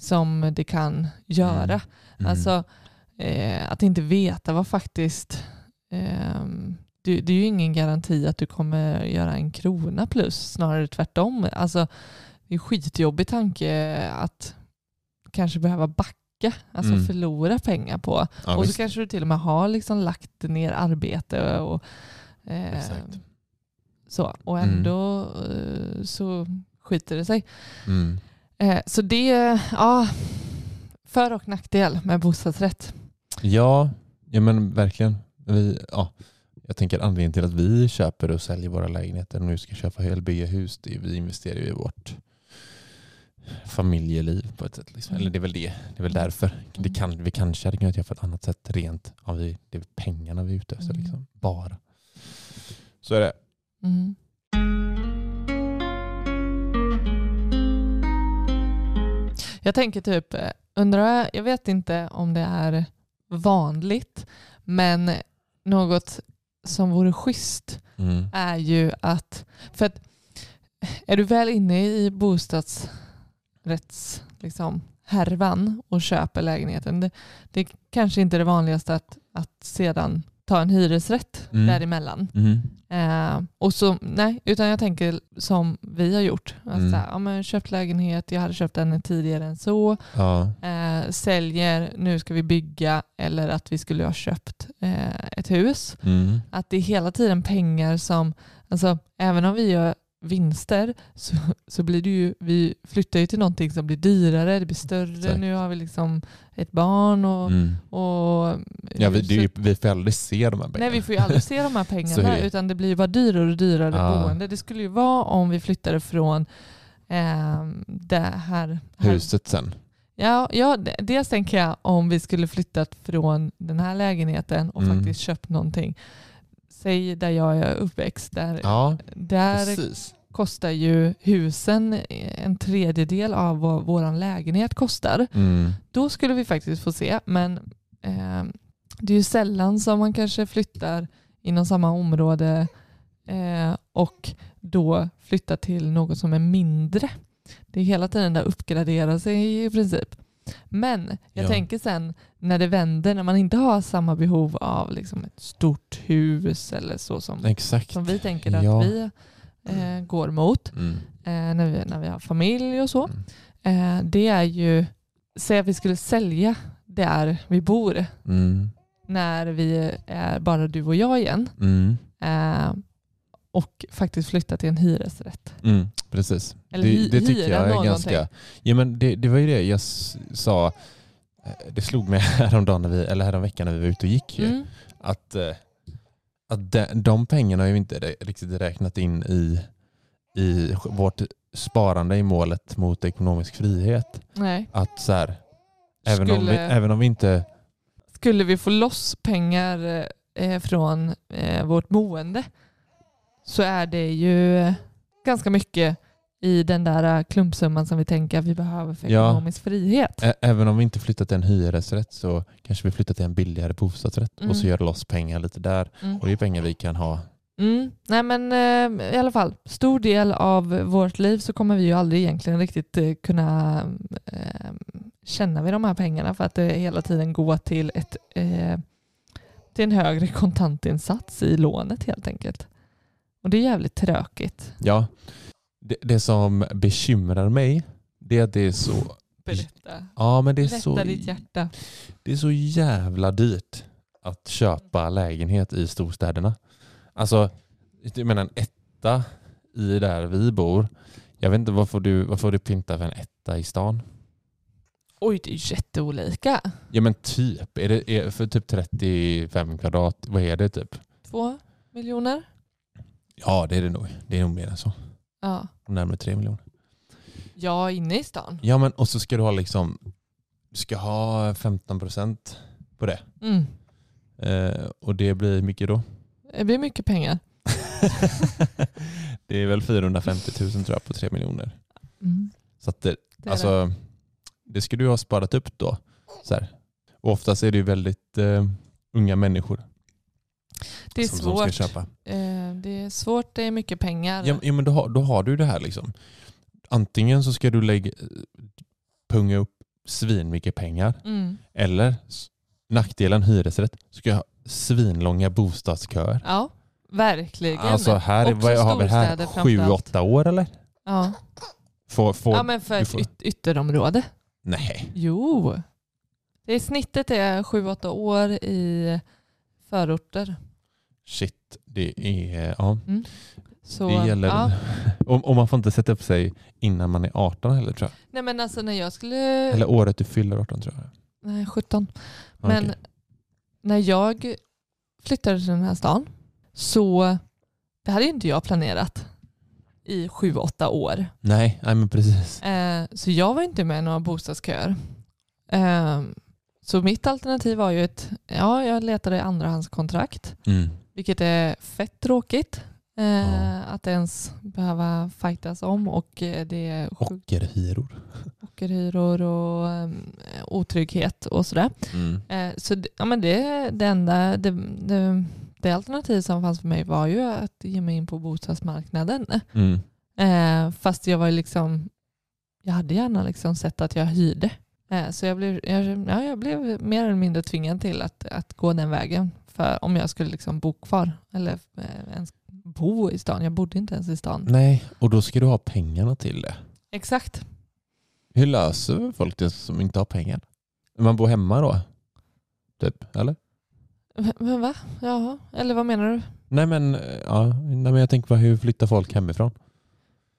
Speaker 1: som det kan göra.
Speaker 2: Mm.
Speaker 1: Alltså eh, att inte veta vad faktiskt... ehm, det, det är ju ingen garanti att du kommer göra en krona plus, snarare tvärtom. Alltså, det är en skitjobbig tanke att kanske behöva backa, alltså
Speaker 2: Mm.
Speaker 1: förlora pengar på.
Speaker 2: ja,
Speaker 1: och så
Speaker 2: visst.
Speaker 1: kanske du till och med har liksom lagt ner arbete och Eh,
Speaker 2: Exakt.
Speaker 1: Så, och
Speaker 2: Mm.
Speaker 1: ändå eh, så skiter det sig.
Speaker 2: Mm.
Speaker 1: Eh, så det är ja, för och nackdel med bostadsrätt.
Speaker 2: Ja, ja men verkligen. Vi, ja, jag tänker anledningen till att vi köper och säljer våra lägenheter och nu ska köpa eller bygga hus, det är vi investerar ju i vårt familjeliv på ett sätt.
Speaker 1: Mm.
Speaker 2: Liksom. Eller det är väl det. Det är väl därför. Det kan, vi kanske hade kunnat göra på ett annat sätt rent om vi, det är pengarna vi är ute efter.
Speaker 1: Mm.
Speaker 2: Liksom. Bara. Så är det.
Speaker 1: Mm. Jag tänker typ, eh, undrar, jag vet inte om det är vanligt, men något som vore schysst
Speaker 2: Mm.
Speaker 1: är ju att, för att är du väl inne i bostadsrätts liksom, härvan och köper lägenheten, det, det är kanske inte det vanligaste att, att sedan ta en hyresrätt
Speaker 2: Mm.
Speaker 1: däremellan.
Speaker 2: Mm.
Speaker 1: Eh, och så, nej, utan jag tänker som vi har gjort. Att
Speaker 2: Mm.
Speaker 1: så här, ja, men köpt lägenhet, jag hade köpt den tidigare än så.
Speaker 2: Ja.
Speaker 1: Eh, säljer, nu ska vi bygga. Eller att vi skulle ha köpt eh, ett hus.
Speaker 2: Mm.
Speaker 1: Att det är hela tiden pengar som, alltså även om vi gör vinster så, så blir det ju, vi flyttar ju till någonting som blir dyrare, det blir större,
Speaker 2: Exakt.
Speaker 1: nu har vi liksom ett barn och,
Speaker 2: Mm.
Speaker 1: och
Speaker 2: Ja, vi, det är ju,
Speaker 1: huset-
Speaker 2: vi får aldrig se de här pengarna.
Speaker 1: Nej vi får ju aldrig se de här
Speaker 2: Så
Speaker 1: pengarna
Speaker 2: är det.
Speaker 1: utan det blir ju bara dyrare och dyrare
Speaker 2: Ah.
Speaker 1: boende. Det skulle ju vara om vi flyttade från eh, det här, här.
Speaker 2: Huset sen.
Speaker 1: Ja, ja, d- dels tänker jag om vi skulle flyttat från den här lägenheten och
Speaker 2: Mm.
Speaker 1: faktiskt köpt någonting. Säg där jag är uppväxt. Där,
Speaker 2: Ja,
Speaker 1: där
Speaker 2: precis.
Speaker 1: kostar ju husen en tredjedel av vad vår lägenhet kostar.
Speaker 2: Mm.
Speaker 1: Då skulle vi faktiskt få se, men eh, det är ju sällan som man kanske flyttar inom samma område eh, och då flyttar till något som är mindre. Det är hela tiden där uppgradera sig i princip. Men jag
Speaker 2: Ja.
Speaker 1: tänker sen när det vänder, när man inte har samma behov av liksom ett stort hus eller så som,
Speaker 2: Exakt.
Speaker 1: som vi tänker att
Speaker 2: Ja.
Speaker 1: vi eh, går mot
Speaker 2: Mm.
Speaker 1: eh, när, vi, när vi har familj och så.
Speaker 2: Mm.
Speaker 1: Eh, det är ju, säg att vi skulle sälja där vi bor
Speaker 2: Mm.
Speaker 1: när vi är bara du och jag igen
Speaker 2: Mm.
Speaker 1: eh, och faktiskt flytta till en hyresrätt.
Speaker 2: Mm. Precis.
Speaker 1: Eller hy-
Speaker 2: det, det tycker
Speaker 1: hyra
Speaker 2: jag är
Speaker 1: någonting.
Speaker 2: ganska... Ja, men det, det var ju det jag s- sa. eh, Det slog mig häromdagen, när vi, eller häromveckan när vi var ute och gick. Ju,
Speaker 1: Mm.
Speaker 2: Att, eh, att de, de pengarna har ju inte rä- riktigt räknat in i, i sj- vårt sparande i målet mot ekonomisk frihet.
Speaker 1: Nej.
Speaker 2: Att så här, även, om vi,
Speaker 1: Skulle-
Speaker 2: även om vi inte...
Speaker 1: Skulle vi få loss pengar eh, från eh, vårt boende så är det ju ganska mycket i den där eh, klumpsumman som vi tänker att vi behöver för
Speaker 2: Ja.
Speaker 1: ekonomisk frihet.
Speaker 2: Ä- Även om vi inte flyttar till en hyresrätt så kanske vi flyttar till en billigare bostadsrätt
Speaker 1: Mm.
Speaker 2: och så gör loss pengar lite där.
Speaker 1: Mm.
Speaker 2: Och det är pengar vi kan ha.
Speaker 1: Mm. Nej men eh, i alla fall, stor del av vårt liv så kommer vi ju aldrig egentligen riktigt eh, kunna eh, känna vid de här pengarna för att det hela tiden går till, ett, eh, till en högre kontantinsats i lånet helt enkelt. Och det är jävligt tråkigt.
Speaker 2: Ja. Det, det som bekymrar mig det är att det är så,
Speaker 1: Berätta,
Speaker 2: ja, men det är
Speaker 1: Berätta
Speaker 2: så,
Speaker 1: ditt hjärta.
Speaker 2: det är så jävla dyrt att köpa lägenhet i storstäderna. Alltså, jag menar en etta i där vi bor. Jag vet inte vad får du, vad får du pynta för en etta i stan?
Speaker 1: Oj, det är ju jätteolika.
Speaker 2: Ja men typ, är det, är, för typ 35 kvadrat, vad är det typ?
Speaker 1: Två miljoner?
Speaker 2: Ja, det är det nog. Det är nog mer än så.
Speaker 1: Ja.
Speaker 2: Närmare tre miljoner.
Speaker 1: Ja, inne i stan.
Speaker 2: Ja, men och så ska du ha liksom, du ska ha 15 procent på det.
Speaker 1: Mm.
Speaker 2: Eh, och det blir mycket då?
Speaker 1: Det blir mycket pengar.
Speaker 2: det är väl 450 000 tror jag på tre miljoner.
Speaker 1: Mm.
Speaker 2: Så att det,
Speaker 1: Det är det.
Speaker 2: alltså, det skulle du ha sparat upp då. Så här. Och oftast är det ju väldigt eh, unga människor
Speaker 1: det är
Speaker 2: som,
Speaker 1: svårt.
Speaker 2: som ska köpa.
Speaker 1: Eh, det är svårt, det är mycket pengar.
Speaker 2: Ja, ja men då har, då har du det här liksom. Antingen så ska du lägga, eh, punga upp svin mycket pengar
Speaker 1: Mm.
Speaker 2: eller s- nackdelen hyresrätt ska jag ha svinlånga bostadsköer.
Speaker 1: Ja, verkligen.
Speaker 2: Alltså här,
Speaker 1: Också
Speaker 2: vad har vi här?
Speaker 1: storstäder
Speaker 2: Sju,
Speaker 1: framförallt.
Speaker 2: åtta år eller?
Speaker 1: Ja.
Speaker 2: Får, får,
Speaker 1: ja, men för
Speaker 2: du
Speaker 1: ett
Speaker 2: får-
Speaker 1: yt- ytterområde.
Speaker 2: Nej.
Speaker 1: Jo. Det är snittet är 7-8 år i förorter.
Speaker 2: Shit. att det är... Ja,
Speaker 1: Mm. Så,
Speaker 2: det gäller...
Speaker 1: ja.
Speaker 2: Och, och man får inte sätta upp sig innan man är 18 heller tror jag.
Speaker 1: Nej men alltså när jag skulle...
Speaker 2: Eller året du fyller 18 tror jag.
Speaker 1: Nej, 17.
Speaker 2: Ja,
Speaker 1: Men
Speaker 2: okej.
Speaker 1: när jag flyttade till den här stan så det hade ju inte jag planerat i sju, åtta år.
Speaker 2: Nej, nej, men precis.
Speaker 1: Eh, så jag var inte med i några bostadsköer. Eh, så mitt alternativ var ju ett, ja jag letade andrahandskontrakt,
Speaker 2: Mm.
Speaker 1: vilket är fett tråkigt. Eh,
Speaker 2: Ja.
Speaker 1: Att ens behöva fightas om och eh, det är sjukt
Speaker 2: Ockerhyror.
Speaker 1: ockerhyror och eh, otrygghet och sådär. Eh, Så det, ja, men det, det enda det, det, det alternativ som fanns för mig var ju att ge mig in på bostadsmarknaden.
Speaker 2: Mm.
Speaker 1: Eh, fast jag var ju liksom, jag hade gärna liksom sett att jag hyrde. Eh, så jag blev, jag, ja, jag blev mer eller mindre tvingad till att, att gå den vägen. För om jag skulle liksom bo kvar eller eh, ens bo i stan. Jag bodde inte ens i stan.
Speaker 2: Nej, och då ska du ha pengarna till det.
Speaker 1: Exakt.
Speaker 2: Hur löser folk det som inte har pengar? Man bor hemma då? Typ, eller?
Speaker 1: Men- Men va? Jaha. Eller vad menar du?
Speaker 2: Nej men, eh, ja, nej, men jag tänker på hur flyttar folk hemifrån?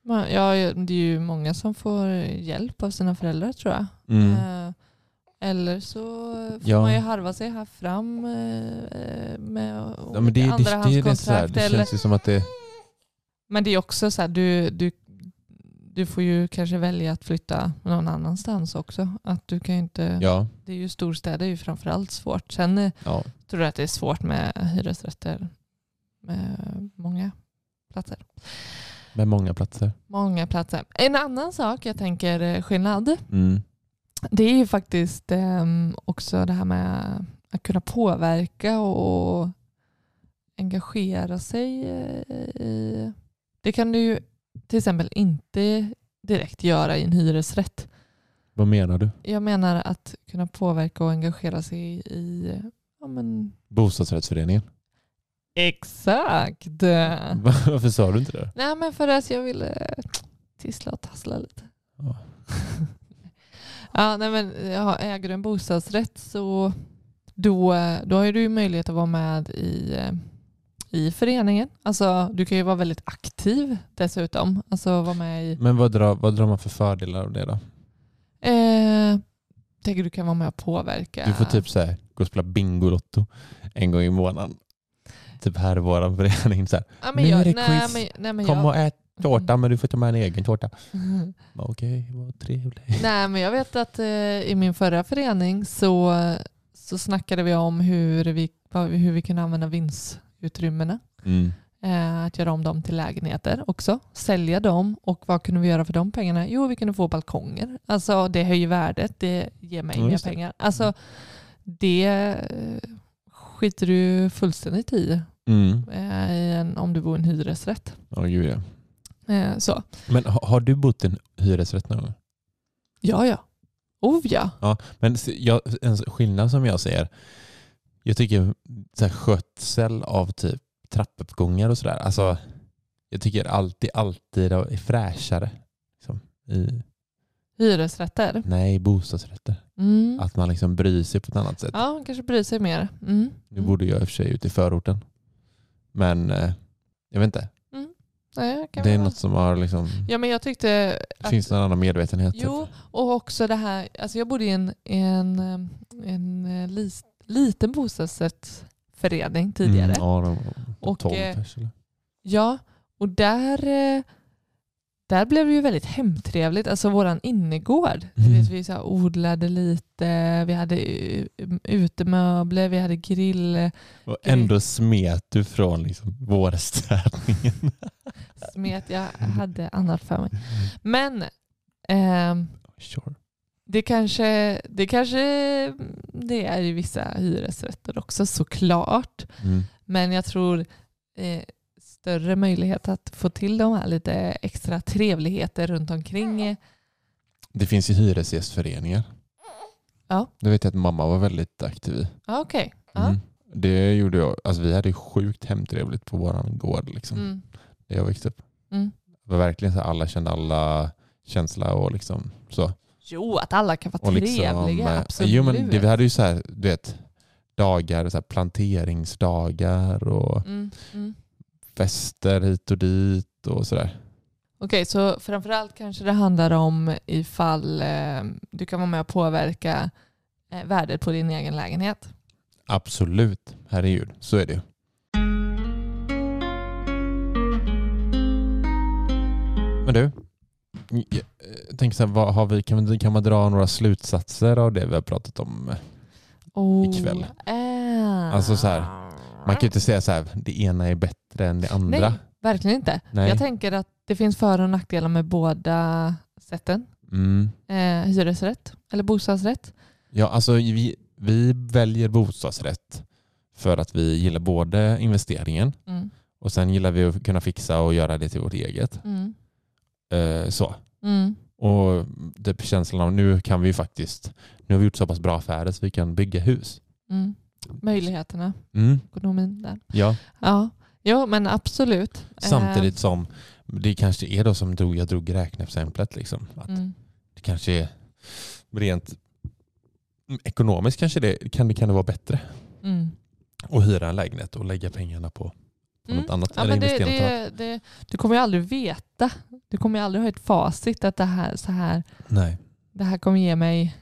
Speaker 1: Man- Ja, det är ju många som får hjälp av sina föräldrar tror jag.
Speaker 2: Mm.
Speaker 1: Eh, Eller så får
Speaker 2: Ja.
Speaker 1: man ju harva sig här fram eh, med
Speaker 2: Ja, men det, det, det, det, är lite så här,
Speaker 1: andrahandskontrakt.
Speaker 2: det
Speaker 1: eller-
Speaker 2: känns ju som att det...
Speaker 1: Men det är också så här, du, du, du får ju kanske välja att flytta någon annanstans också. Att du kan ju inte,
Speaker 2: Ja,
Speaker 1: Det är ju storstäder är ju framförallt svårt. Sen eh,
Speaker 2: ja.
Speaker 1: tror jag att det är svårt med hyresrätter med många platser.
Speaker 2: med många platser.
Speaker 1: Många platser. En annan sak jag tänker eh, skillnad
Speaker 2: Mm.
Speaker 1: Det är ju faktiskt ehm, också det här med att kunna påverka och engagera sig eh, i... Det kan du ju till exempel inte direkt göra i en hyresrätt.
Speaker 2: Vad menar du?
Speaker 1: Jag menar att kunna påverka och engagera sig i... Ja, men,
Speaker 2: Bostadsrättsföreningen?
Speaker 1: exakt!
Speaker 2: Varför sa du inte det?
Speaker 1: Nej men för att jag ville eh, tissla och tassla lite.
Speaker 2: Ja.
Speaker 1: Ja, nej men, ja, äger du en bostadsrätt så då, då har ju du ju möjlighet att vara med i, eh, i föreningen. Alltså, du kan ju vara väldigt aktiv dessutom. Alltså, vara med i,
Speaker 2: Men vad drar, vad drar man för fördelar av det då?
Speaker 1: eh, tänker du kan vara med och påverka.
Speaker 2: Du får typ så här, gå och spela Bingolotto en gång i månaden. Typ här i vår förening. Så här,
Speaker 1: ja,
Speaker 2: nu
Speaker 1: men
Speaker 2: är det
Speaker 1: jag, nej,
Speaker 2: quiz.
Speaker 1: men, nej, men
Speaker 2: Kom och
Speaker 1: jag, Mm.
Speaker 2: ät tårta men du får ta med en egen tårta. Bara, Okej, vad trevligt.
Speaker 1: nej, men jag vet att eh, i min förra förening så, så snackade vi om hur vi, vad- hur vi kunde använda vinstutrymmena.
Speaker 2: Mm.
Speaker 1: Eh, att göra om dem till lägenheter också. Sälja dem och vad kunde vi göra för de pengarna? Jo, vi kunde få balkonger. Alltså det höjer värdet, det ger mig
Speaker 2: Ja,
Speaker 1: mer
Speaker 2: just det.
Speaker 1: pengar. Alltså det eh, skiter du fullständigt i,
Speaker 2: Mm.
Speaker 1: eh, i en, om du bor i en hyresrätt.
Speaker 2: Ja, gud, ja.
Speaker 1: Eh, så.
Speaker 2: Men har, har du bott i en hyresrätt någon gång?
Speaker 1: Ja, ja. Oh ja.
Speaker 2: Men s- jag, en skillnad som jag ser, jag tycker så här, skötsel av typ trappuppgångar och sådär, alltså jag tycker alltid, alltid är fräschare. Liksom, i,
Speaker 1: Hyresrätter.
Speaker 2: nej, bostadsrätter.
Speaker 1: Mm.
Speaker 2: Att man liksom bryr sig på ett annat sätt.
Speaker 1: Ja, man kanske bryr sig mer. Mm.
Speaker 2: Nu bodde jag i och för sig ute i förorten. Men eh, jag vet inte,
Speaker 1: Nej, kan
Speaker 2: det är
Speaker 1: vara-
Speaker 2: något som har liksom,
Speaker 1: Ja, men jag tyckte
Speaker 2: det
Speaker 1: att
Speaker 2: finns någon annan medvetenhet. typ.
Speaker 1: Jo, och också det här, alltså jag bodde i en, en, eh, en eh, lis, liten bostadsrättsförening tidigare.
Speaker 2: Mm, ja, de, de,
Speaker 1: Och,
Speaker 2: 12
Speaker 1: eh,
Speaker 2: pers, eller?
Speaker 1: Ja, och där, eh, där blev det ju väldigt hemtrevligt. Alltså våran innergård, du
Speaker 2: Mm.
Speaker 1: vet, vi så här odlade lite, vi hade u- utemöbler, vi hade grill,
Speaker 2: Och ändå smet du från liksom, vårstädningen.
Speaker 1: smet, jag hade annat för
Speaker 2: Mm.
Speaker 1: mig. Men ehm,
Speaker 2: Sure.
Speaker 1: Det kanske, det kanske det är i vissa hyresrätter också såklart.
Speaker 2: Mm.
Speaker 1: Men jag tror eh, större möjlighet att få till de här lite extra trevligheter runt omkring. eh,
Speaker 2: Det finns ju hyresgästföreningar.
Speaker 1: Ja.
Speaker 2: Det vet jag att mamma var väldigt aktiv i.
Speaker 1: Ja, Okej.
Speaker 2: Mm. Det gjorde jag. Alltså vi hade ju sjukt hemtrevligt på våran gård liksom,
Speaker 1: Ja. Mm.
Speaker 2: där jag växte upp.
Speaker 1: Mm.
Speaker 2: Det var verkligen så här, alla kände alla känsla och liksom så.
Speaker 1: Jo, att alla kan vara
Speaker 2: Och liksom,
Speaker 1: trevliga.
Speaker 2: eh,
Speaker 1: absolut.
Speaker 2: Jo men det, vi hade ju så här, du vet, dagar, så här planteringsdagar och
Speaker 1: Mm, mm.
Speaker 2: fester hit och dit och sådär.
Speaker 1: Okej, så framförallt kanske det handlar om ifall eh, du kan vara med och påverka eh, värdet på din egen lägenhet.
Speaker 2: Absolut, herregud, så är det ju. Men du, jag jag tänker så här, vad har vi, kan, vi- kan man dra några slutsatser av det vi har pratat om?
Speaker 1: Oh,
Speaker 2: Ikväll.
Speaker 1: eh.
Speaker 2: Alltså så här, Man kan ju inte säga så här, det ena är bättre än det andra.
Speaker 1: Nej, verkligen inte.
Speaker 2: Nej.
Speaker 1: Jag tänker att det finns för och nackdelar med båda sätten.
Speaker 2: Mm.
Speaker 1: Eh, hyresrätt eller bostadsrätt.
Speaker 2: Ja, alltså vi, vi väljer bostadsrätt för att vi gillar både investeringen
Speaker 1: Mm,
Speaker 2: och sen gillar vi att kunna fixa och göra det till vårt eget.
Speaker 1: mm,
Speaker 2: Eh, så.
Speaker 1: mm,
Speaker 2: Och typ känslan av nu kan vi ju faktiskt, nu har vi gjort så pass bra affärer så vi kan bygga hus.
Speaker 1: mm. Möjligheterna,
Speaker 2: Mm,
Speaker 1: ekonomin där.
Speaker 2: ja.
Speaker 1: Ja, ja men absolut. Eh,
Speaker 2: Samtidigt som det kanske är då som drog, jag drog räkneexemplet. Liksom. Att
Speaker 1: Mm,
Speaker 2: Det kanske är rent mm, ekonomiskt kanske det kan, det kan det vara bättre
Speaker 1: mm.
Speaker 2: att hyra en lägenhet och lägga pengarna på, på
Speaker 1: Mm.
Speaker 2: något annat.
Speaker 1: Ja,
Speaker 2: eller
Speaker 1: men det,
Speaker 2: investera något annat.
Speaker 1: det, det, du kommer ju aldrig veta. Du kommer ju aldrig ha ett facit att det här, så här,
Speaker 2: Nej.
Speaker 1: det här kommer ge mig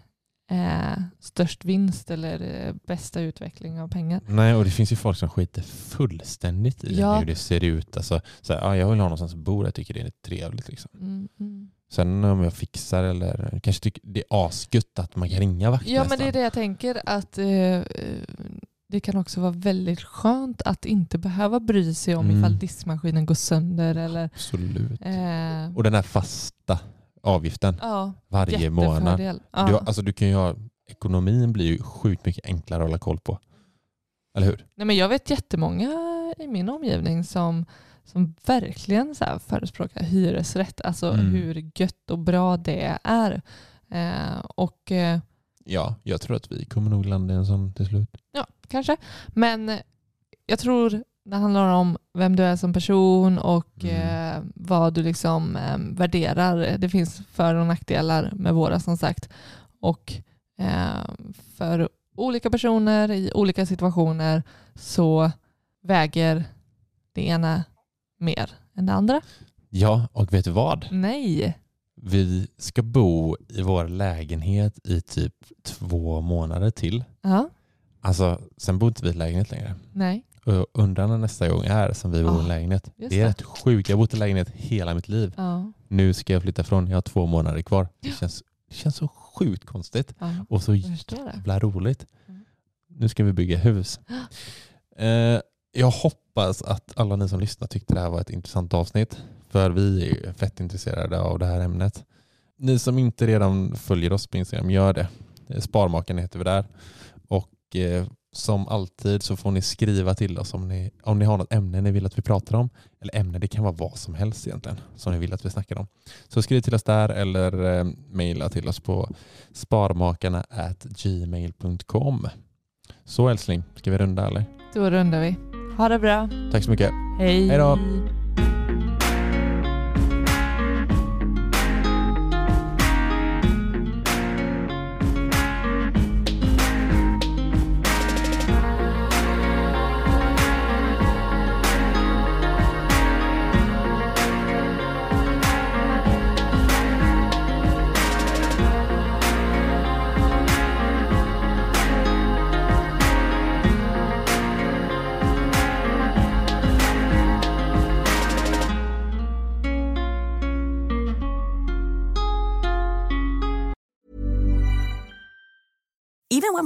Speaker 1: eh, störst vinst eller eh, bästa utveckling av pengar.
Speaker 2: Nej, och det finns ju folk som skiter fullständigt i
Speaker 1: Ja.
Speaker 2: hur det ser ut. Alltså, så här, ja, jag vill ha någonstans att bo, jag tycker det är trevligt. Liksom.
Speaker 1: Mm, mm.
Speaker 2: Sen om jag fixar eller kanske tycker det är asgött att man kan ringa
Speaker 1: Ja
Speaker 2: vaktmästaren.
Speaker 1: men det är det jag tänker att eh, eh, det kan också vara väldigt skönt att inte behöva bry sig om
Speaker 2: Mm.
Speaker 1: ifall diskmaskinen går sönder eller
Speaker 2: Absolut.
Speaker 1: eh,
Speaker 2: Och den här fasta avgiften
Speaker 1: ja,
Speaker 2: varje månad.
Speaker 1: jättefördel.
Speaker 2: Du,
Speaker 1: Ja.
Speaker 2: har- alltså, du kan ju ha, ekonomin blir ju sjukt mycket enklare att hålla koll på. Eller hur?
Speaker 1: Nej, men jag vet jättemånga i min omgivning som, som verkligen så här förespråkar hyresrätt. Alltså
Speaker 2: Mm.
Speaker 1: hur gött och bra det är. Eh, och eh,
Speaker 2: Ja, jag tror att vi kommer nog landa i en sån till slut.
Speaker 1: ja, kanske. Men jag tror det handlar om vem du är som person och
Speaker 2: Mm.
Speaker 1: eh, vad du liksom eh, värderar. Det finns för och nackdelar med våra som sagt. Och eh, för olika personer i olika situationer så väger det ena mer än det andra.
Speaker 2: Ja, och vet du vad?
Speaker 1: Nej.
Speaker 2: Vi ska bo i vår lägenhet i typ två månader till.
Speaker 1: Ja,
Speaker 2: Alltså, sen bor inte vi i lägenhet längre.
Speaker 1: nej.
Speaker 2: Och jag undrar när nästa gång är som vi bor i
Speaker 1: Ah,
Speaker 2: en lägenhet.
Speaker 1: just
Speaker 2: Det är
Speaker 1: det.
Speaker 2: rätt sjukt. Jag har bott i lägenhet hela mitt liv.
Speaker 1: Ja,
Speaker 2: Nu ska jag flytta ifrån. Jag har två månader kvar. Det känns, det känns så sjukt konstigt
Speaker 1: ja.
Speaker 2: och så
Speaker 1: Jag förstår det.
Speaker 2: jävla roligt.
Speaker 1: Mm.
Speaker 2: Nu ska vi bygga hus. Eh, jag hoppas att alla ni som lyssnar tyckte det här var ett intressant avsnitt. För vi är ju fett intresserade av det här ämnet. Ni som inte redan följer oss på Instagram, gör det. Eh, Sparmakarna heter vi där. Och eh, som alltid så får ni skriva till oss om ni, om ni har något ämne ni vill att vi pratar om. Eller ämne, det kan vara vad som helst egentligen som ni vill att vi snackar om. Så skriv till oss där eller eh, mejla till oss på sparmakarna at gmail.com. Så älskling, ska vi runda eller?
Speaker 1: Då rundar vi. Ha det bra.
Speaker 2: Tack så mycket.
Speaker 1: Hej.
Speaker 2: Hej då.
Speaker 4: Even when